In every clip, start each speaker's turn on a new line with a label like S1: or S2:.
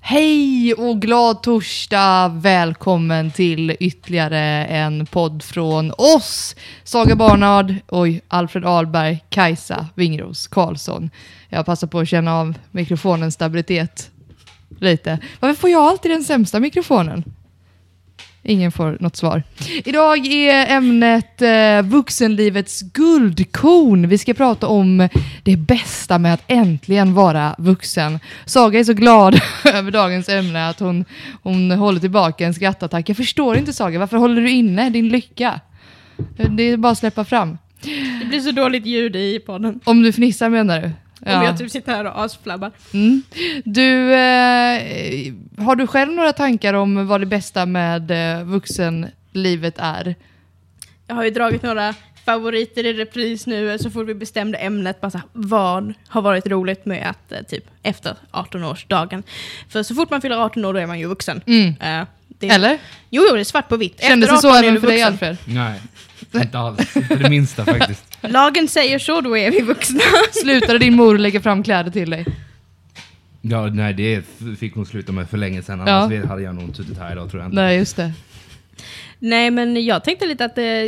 S1: Hej och glad torsdag! Välkommen till ytterligare en podd från oss. Saga Barnard, oj, Alfred Ahlberg, Kajsa Wingros Karlsson. Jag passar på att känna av mikrofonens stabilitet lite. Varför får jag alltid den sämsta mikrofonen? Ingen får något svar. Idag är ämnet eh, vuxenlivets guldkorn. Vi ska prata om det bästa med att äntligen vara vuxen. Saga är så glad över dagens ämne att hon, hon håller tillbaka en skrattattack. Jag förstår inte Saga, varför håller du inne din lycka? Det är bara att släppa fram.
S2: Det blir så dåligt ljud i podden.
S1: Om du fnissar menar du?
S2: Om jag typ sitter här och asflabbar.
S1: Mm. Du, eh, har du själv några tankar om vad det bästa med eh, vuxenlivet är?
S2: Jag har ju dragit några favoriter i repris nu så fort vi bestämde ämnet. Bara så här, vad har varit roligt med att eh, typ efter 18-årsdagen? För så fort man fyller 18 år då är man ju vuxen.
S1: Mm.
S2: Eh, det,
S1: Eller?
S2: Jo, jo, det är svart på vitt.
S1: Kändes
S2: efter
S1: det så
S2: 18 är du
S1: även för dig
S2: vuxen.
S1: Alfred?
S3: Nej, inte alls. Inte det minsta faktiskt.
S2: Lagen säger så, då är vi vuxna.
S1: Slutade din mor lägga fram kläder till dig?
S3: Ja, nej, det f- fick hon sluta med för länge sedan.
S1: Ja.
S3: Annars hade jag nog inte suttit här idag tror jag inte.
S1: Nej, just det.
S2: Nej, men jag tänkte lite att det...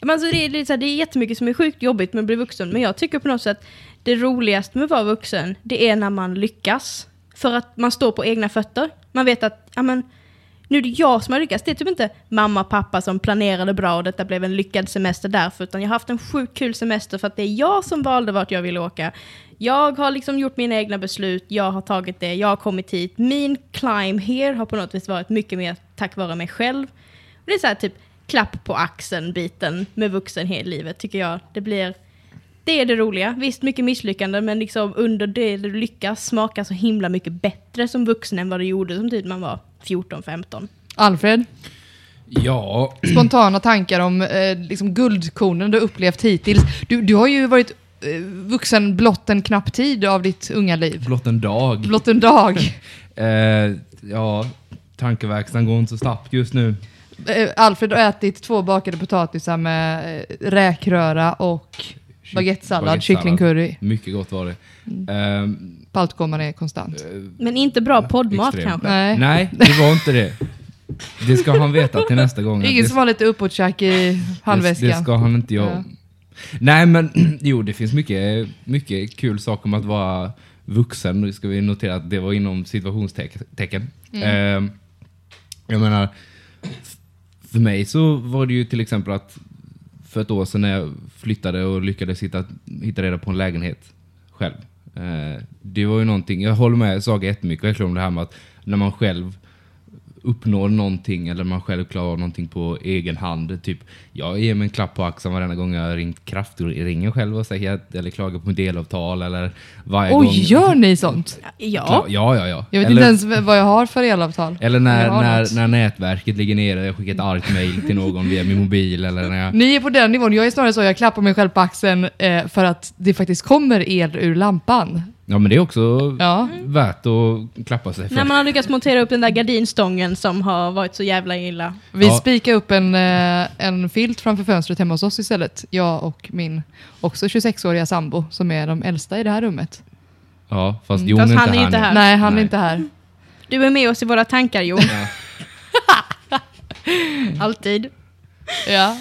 S2: Ja, men Alltså det, är lite så här, det är jättemycket som är sjukt jobbigt med att bli vuxen, men jag tycker på något sätt det roligaste med att vara vuxen, det är när man lyckas. För att man står på egna fötter. Man vet att ja, men, nu är det jag som har lyckats. Det är typ inte mamma och pappa som planerade bra och detta blev en lyckad semester därför, utan jag har haft en sjukt kul semester för att det är jag som valde vart jag ville åka. Jag har liksom gjort mina egna beslut, jag har tagit det, jag har kommit hit. Min climb here har på något vis varit mycket mer tack vare mig själv. Och det är så här typ klapp på axeln-biten med vuxen hela livet tycker jag. Det blir... Det är det roliga. Visst, mycket misslyckanden, men liksom under det du lyckas smakar så himla mycket bättre som vuxen än vad du gjorde som tid man var 14-15.
S1: Alfred,
S3: Ja,
S1: spontana tankar om eh, liksom guldkornen du upplevt hittills. Du, du har ju varit eh, vuxen blott en knapp tid av ditt unga liv.
S3: blott en dag.
S1: Blott en dag.
S3: Eh, ja, tankeverkstan går inte så snabbt just nu.
S1: Eh, Alfred har ätit två bakade potatisar med eh, räkröra och
S3: Kyck-
S1: baguettesallad, Mm.
S3: baguettesallad.
S1: kycklingcurry.
S3: Mycket gott var det. Ehm,
S1: Paltgomman är
S3: Eh,
S1: konstant.
S2: Men inte bra poddmat
S3: Extremt.
S2: kanske.
S1: Nej.
S3: nej, det var inte det. Det ska han veta till nästa gång.
S1: Ingen som har lite uppåtkäk i
S3: det, det
S1: handväskan.
S3: ska han inte göra.
S1: Ja.
S3: Nej, men jo, det finns mycket, mycket kul saker om att vara vuxen. Nu ska vi notera att det var inom situationstecken.
S1: Mm.
S3: Eh, jag menar, för mig så var det ju till exempel att för ett år sedan när jag flyttade och lyckades hitta, hitta reda på en lägenhet själv. Eh, det var ju någonting, jag håller med Saga jättemycket verkligen om det här med att när man själv uppnår någonting eller man själv klarar någonting på egen hand. Typ, jag ger mig en klapp på axeln varenda gång jag har ringt kraftringen själv och säger att, eller klagar på mitt elavtal eller varje gång.
S1: Oj, gör ni sånt?
S3: Kla-
S2: Ja,
S3: Ja, ja, ja.
S1: Jag vet
S3: eller,
S1: inte ens vad jag har för elavtal.
S3: eller
S1: Jag
S3: när,
S1: har något.
S3: när, när nätverket ligger nere, jag skickar ett argt mail till någon via min mobil eller när jag
S1: Ni är på den nivån. Jag är snarare så, jag klappar mig själv på axeln eh, för att det faktiskt kommer el ur lampan.
S3: Ja, men det är också
S1: Ja.
S3: värt att klappa sig för.
S2: när man har lyckats montera upp den där gardinstången som har varit så jävla illa.
S1: Vi
S3: Ja.
S1: spikar upp en, eh, en filt framför fönstret hemma hos oss istället. Jag och min också 26-åriga sambo som är de äldsta i det här rummet.
S3: Ja, fast Jon
S2: Fast
S3: är
S2: han
S3: inte
S2: är
S3: här,
S2: inte
S3: nu.
S2: här.
S1: Nej, han är
S3: Nej.
S1: inte här.
S2: Du är med oss i våra tankar Jon. Alltid.
S1: Ja.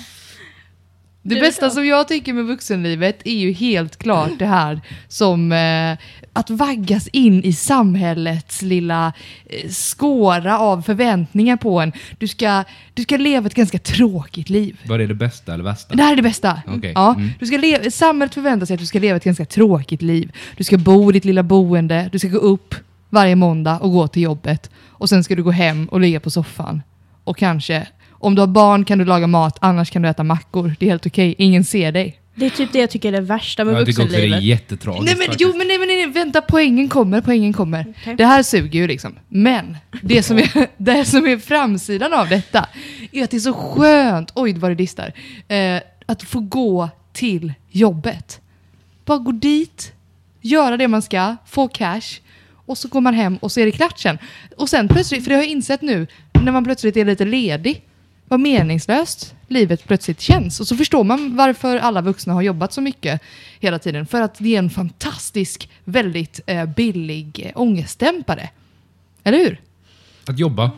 S1: Det
S2: Du
S1: bästa
S2: då?
S1: som jag tycker med vuxenlivet är ju helt klart det här som eh, att vaggas in i samhällets lilla eh, skåra av förväntningar på en. Du ska, du ska leva ett ganska tråkigt liv.
S3: Vad är det bästa eller värsta?
S1: Det här är det bästa.
S3: Okej.
S1: Ja,
S3: Mm.
S1: du ska leva, samhället förväntar sig att du ska leva ett ganska tråkigt liv. Du ska bo i ditt lilla boende, du ska gå upp varje måndag och gå till jobbet. Och sen ska du gå hem och ligga på soffan. Och kanske, om du har barn kan du laga mat, annars kan du äta mackor. Det är helt okej, ingen ser dig.
S2: Det är typ det jag tycker är det värsta med
S3: jag tycker också det är
S2: vuxenlivet.
S3: jättetragiskt
S1: Nej men,
S3: faktiskt.
S1: jo, men nej, men nej, nej, vänta, poängen kommer, poängen kommer.
S2: Okej.
S1: Det här suger ju liksom. Men det som, är, det som är framsidan av detta är att det är så skönt, oj vad det distar, eh, att få gå till jobbet. Bara gå dit, göra det man ska, få cash och så går man hem och så är det klart sen. Och sen plötsligt, för det har jag insett nu, när man plötsligt är lite ledig, vad meningslöst livet plötsligt känns. Och så förstår man varför alla vuxna har jobbat så mycket hela tiden. För att det är en fantastisk, väldigt eh, billig eh, ångestdämpare. Eller hur?
S3: Att jobba.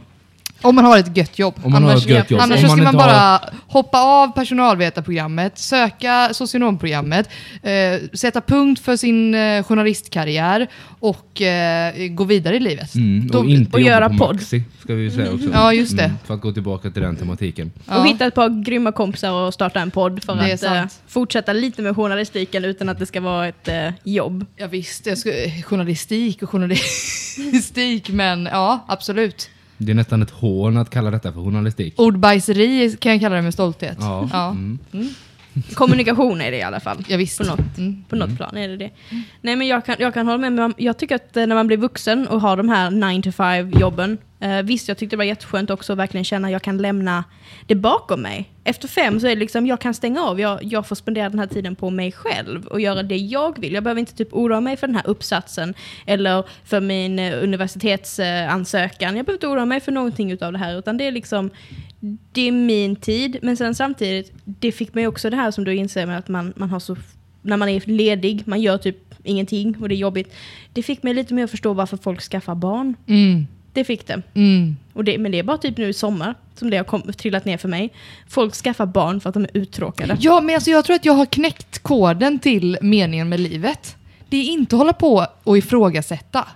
S1: Om man har ett gött jobb.
S3: Om man har
S1: annars
S3: ett gött jobb.
S1: annars
S3: Om
S1: så ska man,
S3: inte
S1: bara
S3: har-
S1: hoppa av personalvetarprogrammet, söka socionomprogrammet, eh, sätta punkt för sin eh, journalistkarriär och eh, gå vidare i livet.
S3: Mm, och
S1: Då-
S3: inte Mm.
S2: och
S3: jobba
S2: göra
S3: på
S2: podd.
S3: Maxi, ska vi ju säga också.
S1: Ja, just det.
S3: för att gå tillbaka till den tematiken.
S1: Ja.
S2: Och hitta ett par grymma kompisar och starta en podd för
S1: Det är
S2: att eh,
S1: sant.
S2: fortsätta lite med journalistiken utan att det ska vara ett eh, jobb.
S1: Ja, visst, jag ska, journalistik och journalistik, men ja, absolut.
S3: Det är nästan ett hån att kalla detta för journalistik.
S1: Ordbajseri kan jag kalla det med stolthet.
S3: Ja.
S1: ja.
S3: Mm.
S2: Kommunikation är det i alla fall.
S1: Ja, visst.
S2: På något,
S1: Mm.
S2: på något plan är det det. Nej men jag kan, jag kan hålla med, men jag tycker att eh, när man blir vuxen och har de här 9 to 5 jobben. Eh, visst, jag tyckte det var jätteskönt också att verkligen känna att jag kan lämna det bakom mig. Efter fem så är det liksom, jag kan stänga av, jag, jag får spendera den här tiden på mig själv och göra det jag vill. Jag behöver inte typ oroa mig för den här uppsatsen eller för min eh, universitetsansökan. Jag behöver inte oroa mig för någonting utav det här, utan det är liksom, det är min tid. Men sen samtidigt, det fick mig också det här som du inser med att man, man har så när man är ledig, man gör typ ingenting och det är jobbigt. Det fick mig lite mer att förstå varför folk skaffar barn.
S1: Mm.
S2: Det fick det.
S1: Mm.
S2: Och det. Men det är bara typ nu i sommar som det har kom, trillat ner för mig. Folk skaffar barn för att de är uttråkade.
S1: Ja, men alltså jag tror att jag har knäckt koden till meningen med livet. Det är inte att hålla på och ifrågasätta.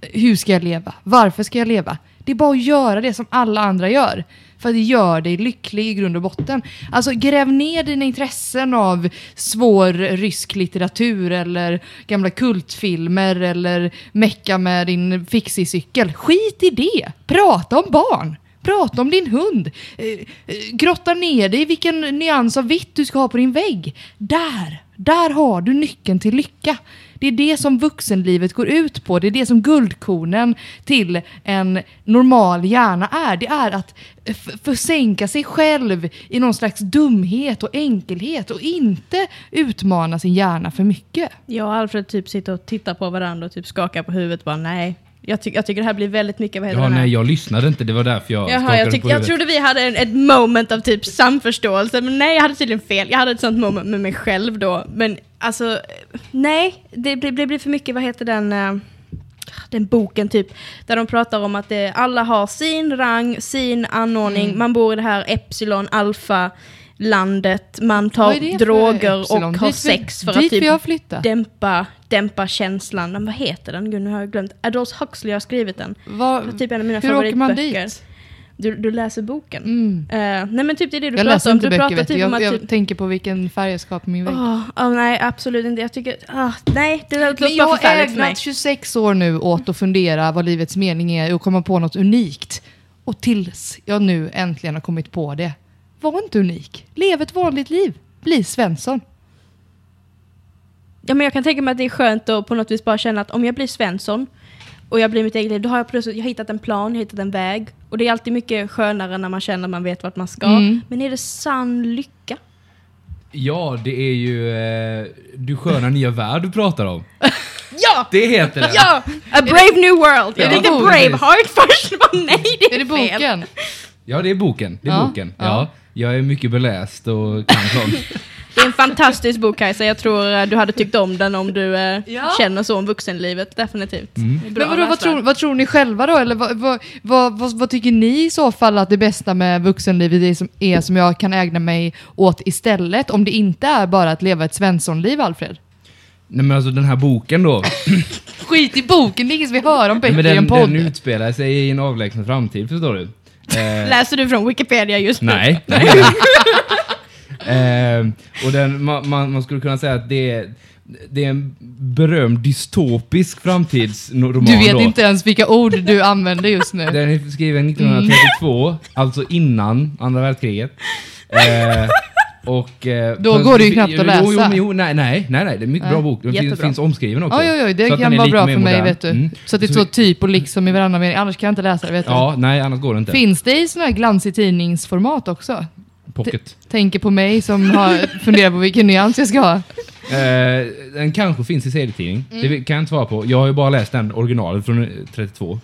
S1: Hur ska jag leva? Varför ska jag leva? Det är bara att göra det som alla andra gör. För det gör dig lycklig i grund och botten. Alltså gräv ner dina intressen av svår rysk litteratur eller gamla kultfilmer eller mecka med din fixie-cykel. Skit i det! Prata om barn! Prata om din hund. Eh, eh, Grotta ner dig i vilken nyans av vitt du ska ha på din vägg. Där, där har du nyckeln till lycka. Det är det som vuxenlivet går ut på. Det är det som guldkornen till en normal hjärna är. Det är att f- försänka sig själv i någon slags dumhet och enkelhet och inte utmana sin hjärna för mycket.
S2: Jag och Alfred typ sitter och tittar på varandra och typ skakar på huvudet bara nej. Jag, ty- jag tycker det här blir väldigt mycket, vad heter
S3: Ja,
S2: den här?
S3: nej, jag lyssnade inte. Det var därför jag
S2: Jaha,
S3: skakade
S2: jag, tyck-
S3: på
S2: jag
S3: huvudet.
S2: trodde vi hade en, ett moment av typ samförståelse, men nej jag hade tydligen fel. Jag hade ett sånt moment med mig själv då. Men alltså, eh, nej, det blir, det blir för mycket, vad heter den, eh, den boken typ, där de pratar om att det, alla har sin rang, sin anordning,
S1: Mm.
S2: man bor i det här epsilon alfa landet, man
S1: Vad är det
S2: tar
S1: för
S2: droger och
S1: epsilon?
S2: har
S1: Dit vi-
S2: sex för att
S1: dit vi har
S2: typ
S1: flyttat.
S2: dämpa, dämpa känslan. Men Vad heter den? Gud, nu har jag glömt. Adolf Huxley har skrivit den.
S1: Vad-
S2: Det var typ en av mina
S1: hur åker
S2: favoritböcker.
S1: man dit?
S2: Du, du läser boken?
S1: Mm.
S2: Eh, nej men typ det är det
S1: Jag
S2: du pratar
S1: läser
S2: om.
S1: inte
S2: Du
S1: böcker
S2: pratar
S1: vet du.
S2: typ om
S1: Jag,
S2: att
S1: jag
S2: typ...
S1: tänker på vilken färg jag ska ha på min vägg.
S2: Åh, åh, nej absolut inte. Jag tycker... ah, nej, det låter
S1: Men
S2: bara
S1: jag har
S2: förfärligt för mig.
S1: ägnat 26 år nu åt att fundera vad livets mening är och komma på något unikt. Och tills jag nu äntligen har kommit på det. Var inte unik. Lev ett vanligt liv. Bli Svensson.
S2: Ja, men jag kan tänka mig att det är skönt att på något vis bara känna att om jag blir Svensson och jag blir mitt eget liv, då har jag plötsligt jag har hittat en plan, jag har hittat en väg. Och det är alltid mycket skönare när man känner att man vet vart man ska.
S1: Mm.
S2: Men är det sann lycka?
S3: Ja, det är ju eh, Du sköna nya värld du pratar om.
S2: Ja!
S3: Det heter den.
S2: Ja! A brave new world!
S3: Ja.
S2: Jag tänkte
S1: Precis.
S2: Braveheart först, men nej det är,
S1: Är det
S2: fel.
S1: boken?
S3: Ja, det är boken. Det är
S1: Ja,
S3: boken.
S1: ja.
S3: Ja. jag är mycket beläst och kan sånt.
S2: Det är en fantastisk bok Kajsa, jag tror eh, du hade tyckt om den om du eh,
S1: Ja.
S2: känner så om vuxenlivet, definitivt.
S3: Mm.
S2: Bra
S1: Men vadå, vad,
S2: läsvärd.
S1: tror, vad tror ni själva då? Eller vad, vad, vad, vad, vad tycker ni i så fall att det bästa med vuxenlivet är som, är som jag kan ägna mig åt istället? Om det inte är bara att leva ett Svenssonliv, Alfred?
S3: Nej men alltså den här boken då.
S1: Skit i boken, det är ingen som vill höra om
S3: Nej,
S1: böcker
S3: men
S1: i en
S3: den,
S1: podd.
S3: den utspelar sig i en avlägsen framtid förstår du. Eh,
S2: Läser du från Wikipedia just nu?
S3: Nej. nej. Ehm, och den, man, man, man skulle kunna säga att det är, det är en berömd dystopisk framtidsroman
S1: Du vet
S3: då.
S1: inte ens vilka ord du använder just nu.
S3: Den är skriven 1932,
S1: Mm.
S3: alltså innan andra världskriget. Eh, och, eh,
S1: Då
S3: fast-
S1: går det ju knappt att
S3: Jo, jo,
S1: läsa.
S3: men jo nej, nej, nej, nej, det är en mycket
S1: Nej.
S3: bra bok. Den finns,
S2: Jättebra.
S3: finns omskriven också.
S1: Oj, oj, oj, det
S3: Så att den
S1: kan
S3: är
S1: vara
S3: lite
S1: bra
S3: mer
S1: för mig,
S3: modern.
S1: vet du.
S3: Mm.
S1: Så att det står typ och liksom i varannan mening, annars kan jag inte läsa det, vet du.
S3: Ja, nej, annars går det inte.
S1: Finns det i sån här glansig tidningsformat också?
S3: Pocket.
S1: Tänker på mig som har funderat på vilken nyans jag ska ha.
S3: Eh,
S1: Mm.
S3: den kanske finns i serietidning. Det kan jag inte svara på. Jag har ju bara läst den originalen från eh, 32.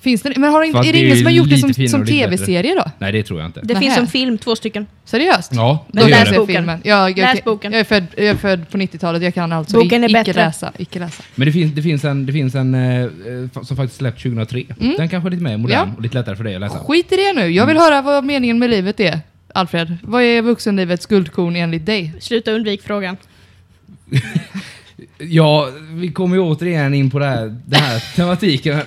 S1: Finns det, men har det, inte-
S3: Fast
S1: är det
S3: det är
S1: ingen
S3: ju
S1: som har gjort det
S3: lite
S1: som,
S3: finare
S1: som
S3: och lite bättre.
S1: tv-serie då?
S3: Nej, det tror jag inte.
S2: Det
S1: Nähä.
S2: finns som film, två stycken.
S1: Seriöst?
S3: Ja, det
S1: Då
S2: Men
S3: gör
S1: läser
S3: det.
S1: jag
S2: boken.
S1: filmen. Jag, jag,
S2: Läs boken.
S1: Jag är, född, jag är född på 90-talet, jag kan alltså i-
S2: Boken är
S1: icke
S2: bättre.
S1: läsa. Icke läsa.
S3: Men det finns, det finns en, det finns en eh, eh, som faktiskt släppts 2003. Den kanske är lite mer modern
S1: Mm. Ja.
S3: och lite lättare för dig att läsa.
S1: Skit i det nu, jag vill höra vad meningen med livet är. Alfred, vad är vuxenlivets guldkorn enligt dig?
S2: Sluta undvik frågan.
S3: Ja, vi kommer ju återigen in på det här, den här tematiken.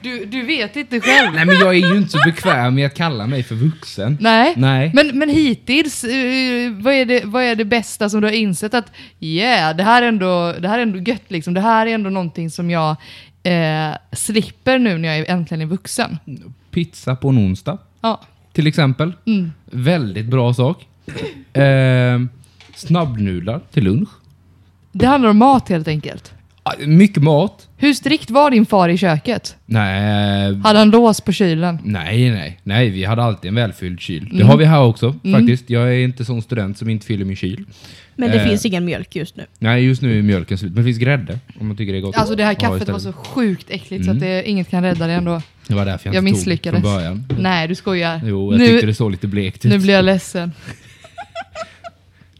S1: Du, du vet inte själv.
S3: Nej, men jag är ju inte så bekväm med att kalla mig för vuxen.
S1: Nej.
S3: Nej.
S1: Men, men hittills, eh, vad, är det, vad är det bästa som du har insett att yeah, det här är ändå, det här är ändå gött liksom. Det här är ändå någonting som jag eh, slipper nu när jag är- äntligen är vuxen.
S3: Pizza på en onsdag,
S1: Ja.
S3: till exempel.
S1: Mm.
S3: Väldigt bra sak. Eh, snabbnudlar till lunch.
S1: Det handlar om mat helt enkelt.
S3: Ah, Mycket mat.
S1: Hur strikt var din far i köket?
S3: Nej,
S1: Hade han lås på kylen?
S3: Nej, nej, nej. Vi hade alltid en välfylld kyl.
S1: Mm.
S3: Det har vi här också faktiskt. Jag är inte sån student som inte fyller min kyl.
S2: Men det
S3: Eh.
S2: finns ingen mjölk just nu.
S3: Nej, just nu är mjölken slut. Men det finns grädde om man tycker det är gott.
S1: Alltså det Mm. här
S3: Ja,
S1: kaffet
S3: istället.
S1: var så sjukt äckligt så att det, inget kan rädda det ändå.
S3: Det var därför jag,
S1: jag
S3: inte
S1: misslyckades.
S3: tog från början.
S1: Nej, du skojar.
S3: Jo, jag tyckte
S1: nu,
S3: det såg lite blekt
S1: nu
S3: ut.
S1: blir jag ledsen.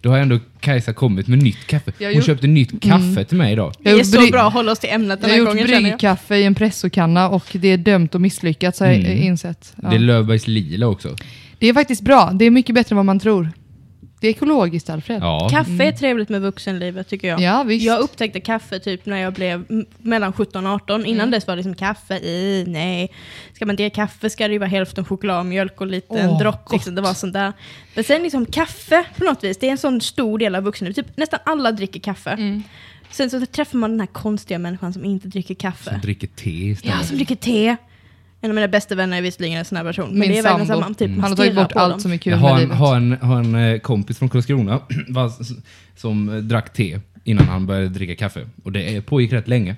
S3: Då har ändå Kajsa kommit med nytt kaffe.
S1: Jag
S3: Hon
S1: gjorde-
S3: köpte nytt kaffe
S1: Mm.
S3: till mig idag.
S1: Jag
S2: Vi är
S1: gjorde bry-
S2: så bra att hålla oss till ämnet
S1: Jag har
S2: den här
S1: gjort
S2: gången känner jag.
S1: bryggkaffe i en pressokanna och det är dömt att misslyckas har jag
S3: Mm.
S1: eh, insett. Ja.
S3: Det är Löfbergs lila också.
S1: Det är faktiskt bra. Det är mycket bättre än vad man tror. Det är ekologiskt, Alfred.
S3: Ja. Mm.
S2: Kaffe är trevligt med vuxenlivet tycker jag.
S1: Ja, visst.
S2: Jag upptäckte kaffe typ när jag blev m- mellan 17 och 18. Innan
S1: Mm.
S2: dess var det liksom kaffe i, nej. Ska man dricka kaffe ska det ju vara hälften choklad och mjölk och lite en
S1: Åh,
S2: dropp. Liksom. Det var sånt där. Men sen liksom kaffe på något vis, det är en sån stor del av vuxenlivet. Typ, nästan alla dricker kaffe.
S1: Mm.
S2: Sen så träffar man den här konstiga människan som inte dricker
S3: Som
S2: kaffe.
S3: dricker te istället.
S2: Ja, som dricker te. En av mina bästa vänner är visserligen en sån här person. Men
S1: Min
S2: det är verkligen
S1: sambo. Mm.
S2: samma. Typ, man
S1: Han har tagit
S2: stirrar
S1: bort
S2: på
S1: allt
S2: dem.
S1: som är kul
S3: Jag har
S1: med
S3: en,
S1: livet.
S3: har, en, har en eh, kompis från Karlskrona va, s- som eh, drack te innan han började dricka kaffe. Och det eh, pågick rätt länge.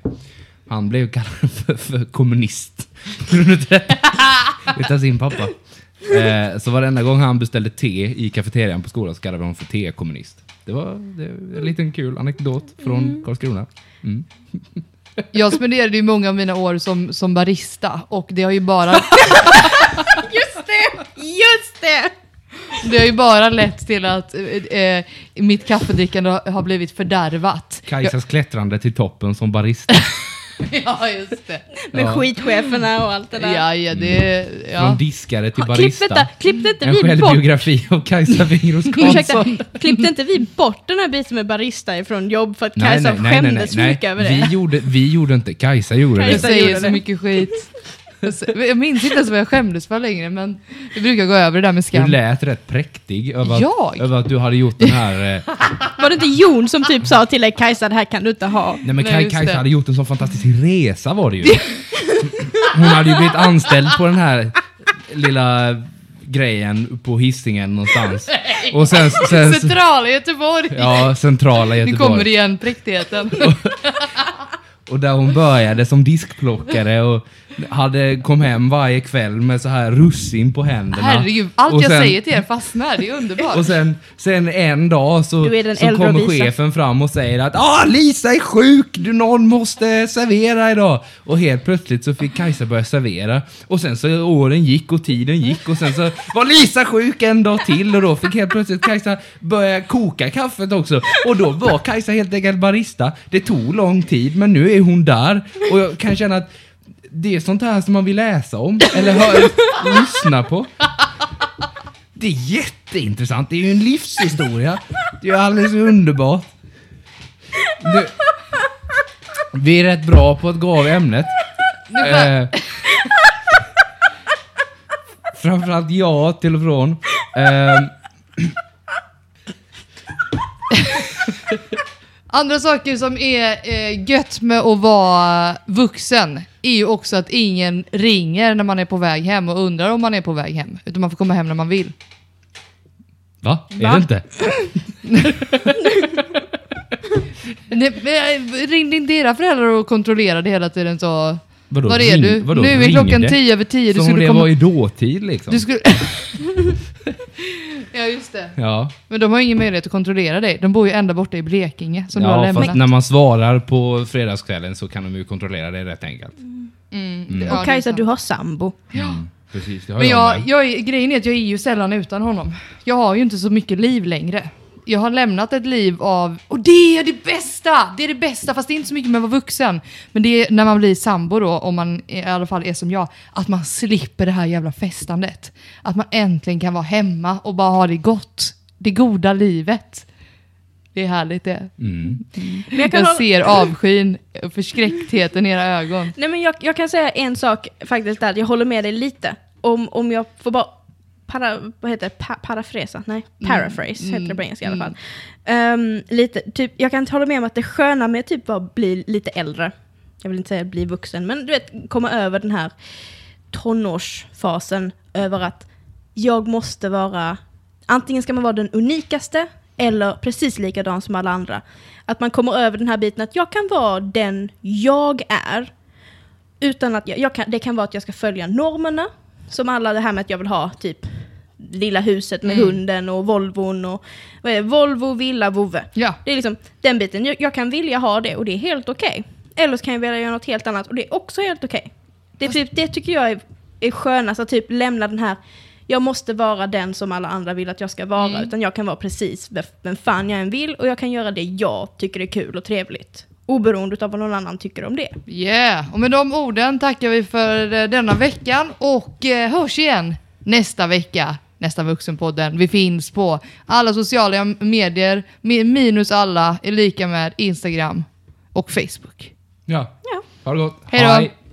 S3: Han blev kallad för, för kommunist på grund av det. Utav sin pappa. Eh, så varenda gång han beställde te i kafeterian på skolan så kallade vi honom för te-kommunist. Det var, det var en liten kul anekdot från Karlskrona. Mm.
S1: Jag spenderade ju många av mina år som, som barista och det har ju bara,
S2: Just det! Just det!
S1: det har ju bara lett till att eh, eh, mitt kaffedrickande har, har blivit fördärvat.
S3: Kajsas klättrande till toppen som barista.
S1: Ja, just det.
S2: Med
S3: Ja.
S2: skitcheferna och allt det där.
S1: Ja, ja, det... Ja.
S3: Från diskare till
S2: Ha, klippte,
S3: barista.
S2: inte, klippte, inte
S3: En
S2: vi bort,
S3: självbiografi av Kajsa Winros
S2: ursäkta,
S3: Karlsson.
S2: klippte inte vi bort den här biten med barista ifrån jobb för att
S3: Nej,
S2: Kajsa
S3: nej, nej, nej,
S2: skämdes
S3: nej,
S2: så mycket över
S3: Vi
S2: det?
S3: gjorde, vi gjorde inte, Kajsa gjorde
S1: Jag
S2: Kajsa-
S3: det.
S1: säger
S2: gjorde
S1: så
S2: det.
S1: mycket skit. Jag s- Jag minns inte ens vad jag skämdes för längre, men det brukar gå över det där med
S3: Du
S1: skam.
S3: lät rätt präktig över att,
S1: Jag?
S3: över att du hade gjort den här... eh,
S2: Var det inte Jon som typ sa till dig Kajsa det här kan du inte ha?
S3: Nej men
S1: Nej,
S3: Kaj,
S1: just
S3: Kajsa
S1: det.
S3: hade gjort en sån fantastisk resa var det ju. Hon hade ju blivit anställd på den här lilla grejen på hissingen någonstans. Och sen... sen
S1: Centrala Göteborg!
S3: ja, centrala
S1: Nu kommer
S3: Göteborg.
S1: igen präktigheten.
S3: Och där hon började som diskplockare och hade, kom hem varje kväll med så här russin på händerna.
S1: Herregud, allt
S3: Och
S1: jag
S3: sen-
S1: säger till er fastnar, det är underbart.
S3: Och sen, sen en dag så,
S2: Du är den
S3: så
S2: äldre
S3: kommer
S2: och visa.
S3: chefen fram och säger att ah, Lisa är sjuk, du, någon måste servera idag. Och helt plötsligt så fick Kajsa börja servera. Och sen så åren gick och tiden gick och sen så var Lisa sjuk en dag till och då fick helt plötsligt Kajsa börja koka kaffet också. Och då var Kajsa helt enkelt barista. Det tog lång tid men nu är hon där och jag kan känna att det är sånt här som man vill läsa om eller hör, lyssna på. Det är jätteintressant. Det är ju en livshistoria. Det är ju alldeles underbart. Du, vi är rätt bra på att gå av ämnet. Eh, framförallt jag till och från. Eh,
S1: Andra saker som är eh, gött med att vara vuxen är ju också att ingen ringer när man är på väg hem och undrar om man är på väg hem. Utan man får komma hem när man vill.
S3: va? Är
S2: Va?
S3: det inte?
S1: Nej, men, eh, Ringde inte era föräldrar och kontrollerade hela tiden så?
S3: Vadå,
S1: Var är
S3: ring-
S1: du?
S3: vadå,
S1: nu är
S3: ringde?
S1: klockan tio över tio. Du
S3: Som om
S1: skulle
S3: det
S1: komma...
S3: var i dåtid liksom.
S1: Du skulle... ja, just det.
S3: Ja,
S1: Men de har ingen möjlighet att kontrollera dig. De bor ju ända borta i Blekinge som du har
S3: ja fast
S1: lämnat.
S3: när man svarar på fredagskvällen så kan de ju kontrollera det rätt enkelt.
S1: Mm. Ja, det är
S2: Och Kajsa,
S1: sant.
S2: du har sambo.
S3: Mm, precis, det har
S1: Men
S3: jag,
S1: jag,
S3: med.
S1: jag, är- grejen är att jag är ju sällan utan honom. Jag har ju inte så mycket liv längre. Jag har lämnat ett liv av, och det är det bästa! Det är det bästa, fast det är inte så mycket med att vara vuxen. Men det är när man blir sambo då, om man i alla fall är som jag, att man slipper det här jävla festandet. Att man äntligen kan vara hemma och bara ha det gott. Det goda livet. Det är härligt det.
S3: Mm.
S2: Men jag kan
S1: Jag
S2: hålla-
S1: ser avskyn, och förskräcktheten i era ögon.
S2: Nej men jag, jag kan säga en sak faktiskt där, jag håller med dig lite. Om, om jag får bara para, vad heter det? Pa, parafresa? Nej, paraphrase heter det på engelska i alla fall. Ehm, lite, typ, jag kan hålla med om att det sköna med typ att bli lite äldre, jag vill inte säga bli vuxen, men du vet komma över den här tonårsfasen över att jag måste vara, antingen ska man vara den unikaste eller precis likadan som alla andra. Att man kommer över den här biten att jag kan vara den jag är utan att jag, jag kan, det kan vara att jag ska följa normerna. Som alla det här med att jag vill ha typ lilla huset med hunden och Volvon och vad är det? Volvo, villa, vovve.
S1: Ja.
S2: Det är liksom den biten. Jag, jag kan vilja ha det och det är helt okej. Eller så kan jag vilja göra något helt annat och det är också helt okej. Det, är typ, det tycker jag är, är skönast, att typ lämna den här jag måste vara den som alla andra vill att jag ska vara, utan jag kan vara precis vem- vem fan jag än vill och jag kan göra det jag tycker är kul och trevligt. Oberoende av vad någon annan tycker om det.
S1: Yeah, och med de orden tackar vi för eh, denna veckan och eh, hörs igen nästa vecka. Nästa Vuxenpodden. Vi finns på alla sociala medier, mi- minus alla är lika med Instagram och Facebook.
S3: Ja.
S2: Ja.
S3: ha det gott.
S1: Hej då.
S3: Hej.